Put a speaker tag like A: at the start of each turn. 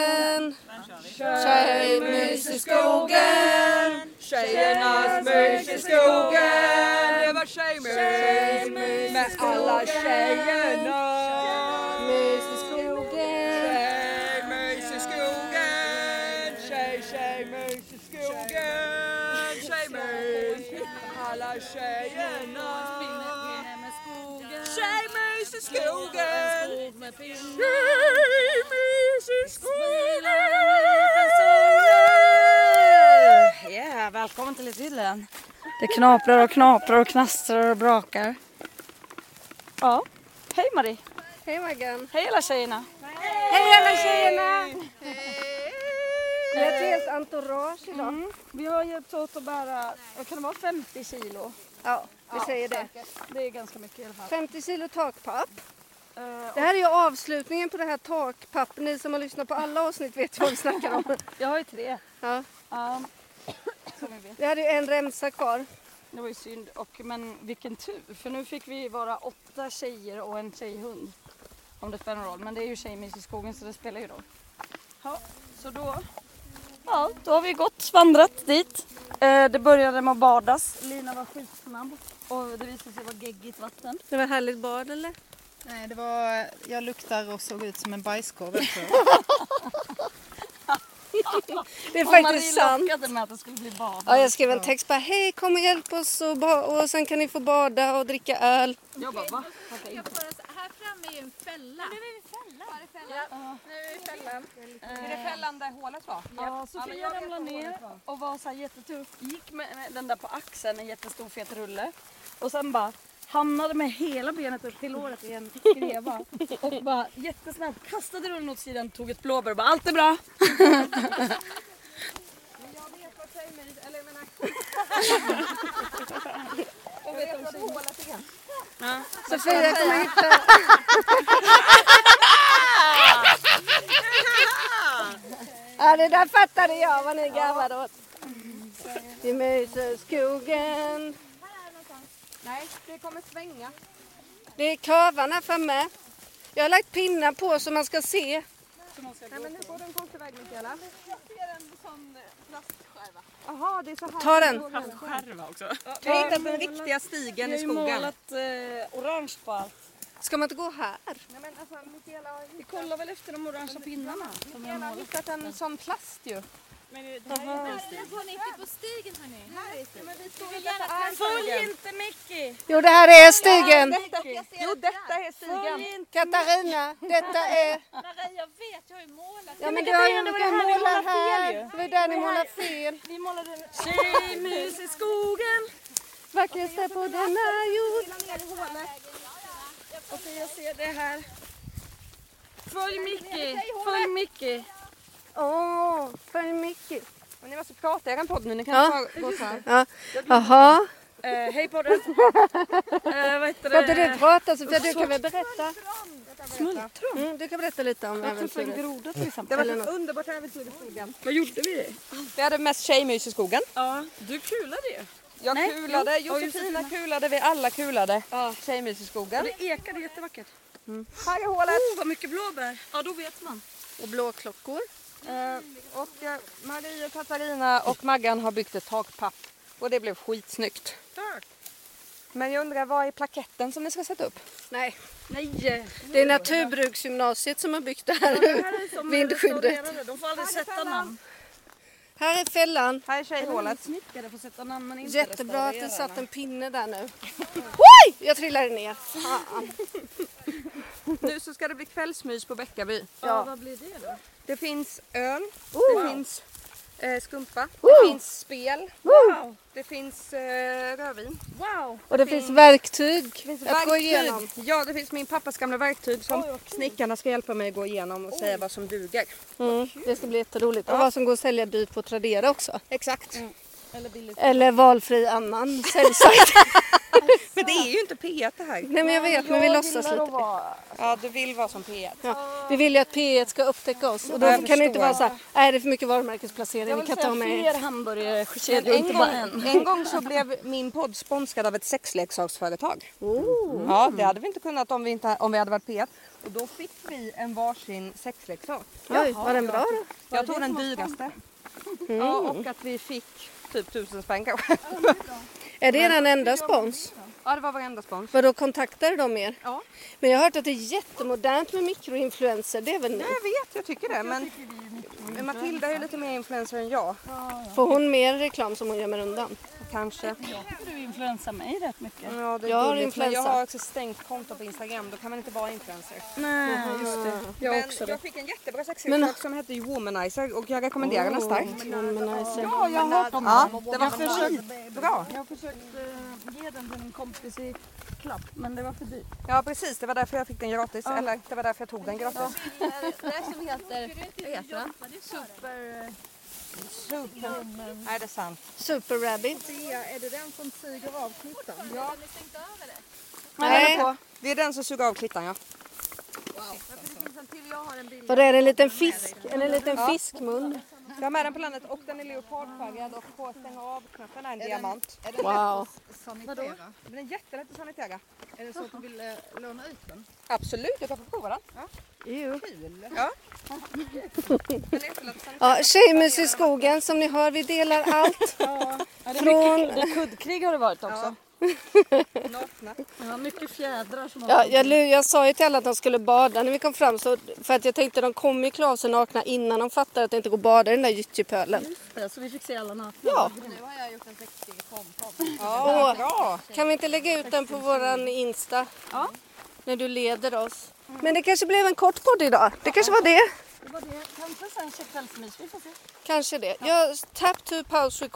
A: skogen. Tjejmys i skogen. Tjejernas mys i skogen. Det var tjejmys med alla tjejerna. Mys i skogen. Tjejmys i skogen. Tjej, tjejmys i skogen. Tjejmys med alla tjejerna. Tjejmys i skogen.
B: Yeah, välkommen till idyllen. Det knaprar och knaprar och knastrar och brakar. Ja. Hej Marie.
A: Hej Maggan!
B: Hej alla tjejerna.
A: Hej alla tjejerna! Vi har ett helt entourage idag.
B: Vi har hjälpt åt att bära, vad kan det vara, 50 kilo?
A: Ja, vi säger det.
B: Det är ganska mycket i alla fall.
A: 50 kilo takpapp.
B: Eh,
A: Det här är ju avslutningen på det här takpapp. Ni som har lyssnat på alla avsnitt vet vad vi snackar om.
B: Jag har ju tre.
A: Ja.
B: Ehm, Ja. Som vi vet.
A: Vi hade ju en remsa kvar.
B: Det var ju synd. Och, men vilken tur, för nu fick vi vara åtta tjejer och en tjejhund. Om det spelar någon roll. Men det är ju tjejmys i skogen så det spelar ju roll. Ja, så då, ja, då har vi gått, vandrat dit. Eh, det började med att badas. Lina var skitsnabb. Och det visade sig vara geggigt vatten.
A: Det var härligt bad eller?
C: Nej, det var... Jag luktar och såg ut som en bajskorv. efteråt.
A: Det är
B: Och
A: faktiskt
B: Marie
A: sant.
B: lockade med att det skulle bli bad.
A: Ja, jag skrev en text bara hej kom och hjälp oss och, ba- och sen kan ni få bada och dricka öl.
B: Jag bara, va? Okej.
D: Jag får oss, här framme är ju en fälla. Nu är vi fälla. Ja, det är fällan. Nu är vi fällan. Är det fällan där hålet var?
B: Ja, Sofia ramlade ner och var så här jättetuff. Gick med, med den där på axeln, en jättestor fet rulle. Och sen bara hamnade med hela benet upp till låret i en greva. Och bara jättesnabbt kastade rullen åt sidan, tog ett blåbär och bara allt är bra.
D: Jag vet vad tjejmys, eller jag menar... jag vet vad hålet är.
A: Sofia kommer hitta Ja, det där fattade jag vad ni garvade åt. Vi myser i skogen.
D: Nej, det kommer svänga.
A: Det är kurvan här framme. Jag har lagt pinnar på så man ska se.
D: Nej, men nu går den konstig väg Mikaela. Jag ser en
E: eh,
D: sån plastskärva. Jaha, det är så här.
A: Ta den.
E: Jag har hittat den riktiga stigen i
B: Vi har ju
E: skogen.
B: målat eh, orange på allt.
A: Ska man inte gå här?
D: Nej, men alltså Mikaela har ju-
B: Vi kollar väl efter de orangea pinnarna.
D: Mikaela har hittat en sån plast ju. Men det här är inte på stig.
E: Äh,
D: Här är det. Men vi tror ju att det
B: Följ inte Mickey!
A: Jo, det här är stigen.
D: är... Jo, detta är stigen.
A: Katarina, detta är...
F: Jag vet, jag har ju målat.
A: Ja, men du har ju olika målar här. Det var där ni målar fel.
B: Tjejmys i skogen!
A: Vackraste på denna jord.
B: Okej, jag ser det här. Följ Mickey! Följ Mickey!
A: Åh, följ Micke.
D: Men ni måste prata i er podd nu. Ni kan
A: Ja.
D: inte bara gå så här.
A: Ja. Jaha,
B: Eh, hej podden! eh, vad heter
A: ska inte du
B: det?
A: prata Sofia? Du kan väl berätta?
B: Smultron?
A: Mm, du kan berätta lite om
B: Jag träffade en
A: äventyret.
B: groda till exempel.
D: Det var ett underbart äventyr i skogen.
B: Vad gjorde vi?
D: Vi hade mest tjejmys i skogen.
B: Ja, du kulade ju.
D: Jag
B: Nej,
D: kulade,
B: jo. Ja,
D: Josefina
B: Josefina.
D: kulade, vi alla kulade. Tjejmys i skogen.
B: Det ekade jättevackert.
D: Här är hålet.
B: Oh, vad mycket blåbär! Ja, då vet man.
A: Och blåklockor.
D: Eh, Och eh, Marie, och Katarina och Maggan har byggt ett takpapp. Och det blev skitsnyggt.
B: Tack!
D: Men jag undrar, vad är plaketten som ni ska sätta upp?
A: Nej,
B: Nej!
A: det är naturbruksgymnasiet som har byggt det här. Vindskyddet.
B: De får aldrig sätta namn.
A: Här är fällan.
D: Här är tjejhålet.
B: Snickare får sätta namn men inte
A: Jättebra att det
B: restaurerarna.
A: satt en pinne där nu. Oj! Jag trillade ner. Fan.
D: Nu så ska det bli kvällsmys på Bäckaby.
B: Ja, vad blir det då?
D: Det finns öl, det finns eh, skumpa, det
A: Oh.
D: finns spel, det finns eh, rödvin.
B: Wow!
A: Och det finns verktyg
D: finns
A: att gå
D: verktyg.
A: igenom.
D: Ja, det finns min pappas gamla verktyg som snickarna ska hjälpa mig att gå igenom och säga vad som duger.
A: Mm, det ska bli jätteroligt. Och vad som går att sälja dyrt på Tradera också.
D: Exakt.
C: Mm.
B: Eller billigt.
A: Eller valfri annan säljsajt.
D: Men det är ju inte
E: E
D: P1 det här.
A: Nej men jag vet, men vi låtsas lite.
D: Ja, du vill vara som P1.
A: Ja, vi vill ju att P1 ska upptäcka oss och då
D: Jag
A: kan det inte
D: förstår.
A: vara så här, nej det är för mycket varumärkesplacering, vi kan ta med er."
B: fler hamburgerkedjor,
D: En
B: inte
D: gång,
B: bara en.
D: en gång så blev min podd sponsrad av ett sexleksaksföretag. Ja, det hade vi inte kunnat om vi, inte, om vi hade varit P1.
E: E och då fick vi en varsin sexleksak.
A: Oj, var den bra då?
E: Jag tog den dyraste. Ja, och att vi fick typ tusen spänn kanske.
A: Är det er enda spons?
E: Ja, det var varenda spons.
A: Vadå, kontaktade de er?
E: Ja.
A: Men jag har hört att det är jättemodernt med mikroinfluencer. Det är väl ni?
E: Jag vet, jag tycker det. Men men Matilda är ju lite mer influencer än jag.
A: Får hon mer reklam som hon gömmer undan?
E: Kanske.
B: Du influensar mig rätt mycket.
E: Ja, det är
A: Jag har
E: gulligt, men jag
A: influensa.
E: har också stängt konto på Instagram. Då kan man inte vara influencer.
B: Nej, just det.
E: Jag, men jag fick en jättebra sexleksak som hette Womanizer och jag rekommenderar den starkt.
A: Womanizer.
B: Ja, jag har på
E: Ja, det var försökt. Bra.
B: Jag försökte ge den till en kompis i klapp, men det var för dyrt.
E: Ja precis, det var därför jag fick den gratis. Eller det var därför jag tog den gratis.
D: Det som heter, vad heter den?
E: Super. Nej det är sant.
A: Super Rabbit.
E: Nej.
A: Nej.
E: Det är den som suger av klittan ja.
A: Var det är en liten fisk? Eller en liten fiskmun?
E: Jag har med den på landet och den är leopardfärgad och på stänga av-knappen är en diamant.
C: Är det
A: Wow.
C: lätt att sanitera?
E: Den är jättelätt att sanitera.
C: Är det så att du vill eh, låna ut den?
E: Absolut, jag kan få prova den.
A: Ew.
E: Den är jättelätt att sanitera.
A: Ja, Tjejmus i skogen som ni hör, vi delar allt. Från...
B: Det kuddkrig har det varit också.
E: Nakna.
B: Ja, mycket fjädrar som har
A: Ja, jag, lu- jag sa ju till alla att de skulle bada när vi kom fram så, för att jag tänkte de kommer ju klä av sig nakna innan de fattar att det inte går att bada i den där gyttjepölen.
B: det, så vi fick se alla nakna.
A: Ja.
E: Ja, bra.
A: Kan vi inte lägga ut den på våran Insta? När du leder oss.
B: Mm.
A: Men det kanske blev en kort podd idag. Det kanske var det.
B: Det var det. Kanske sen kvällsmys, vi får se.
A: Kanske det. Jag tap to pause record.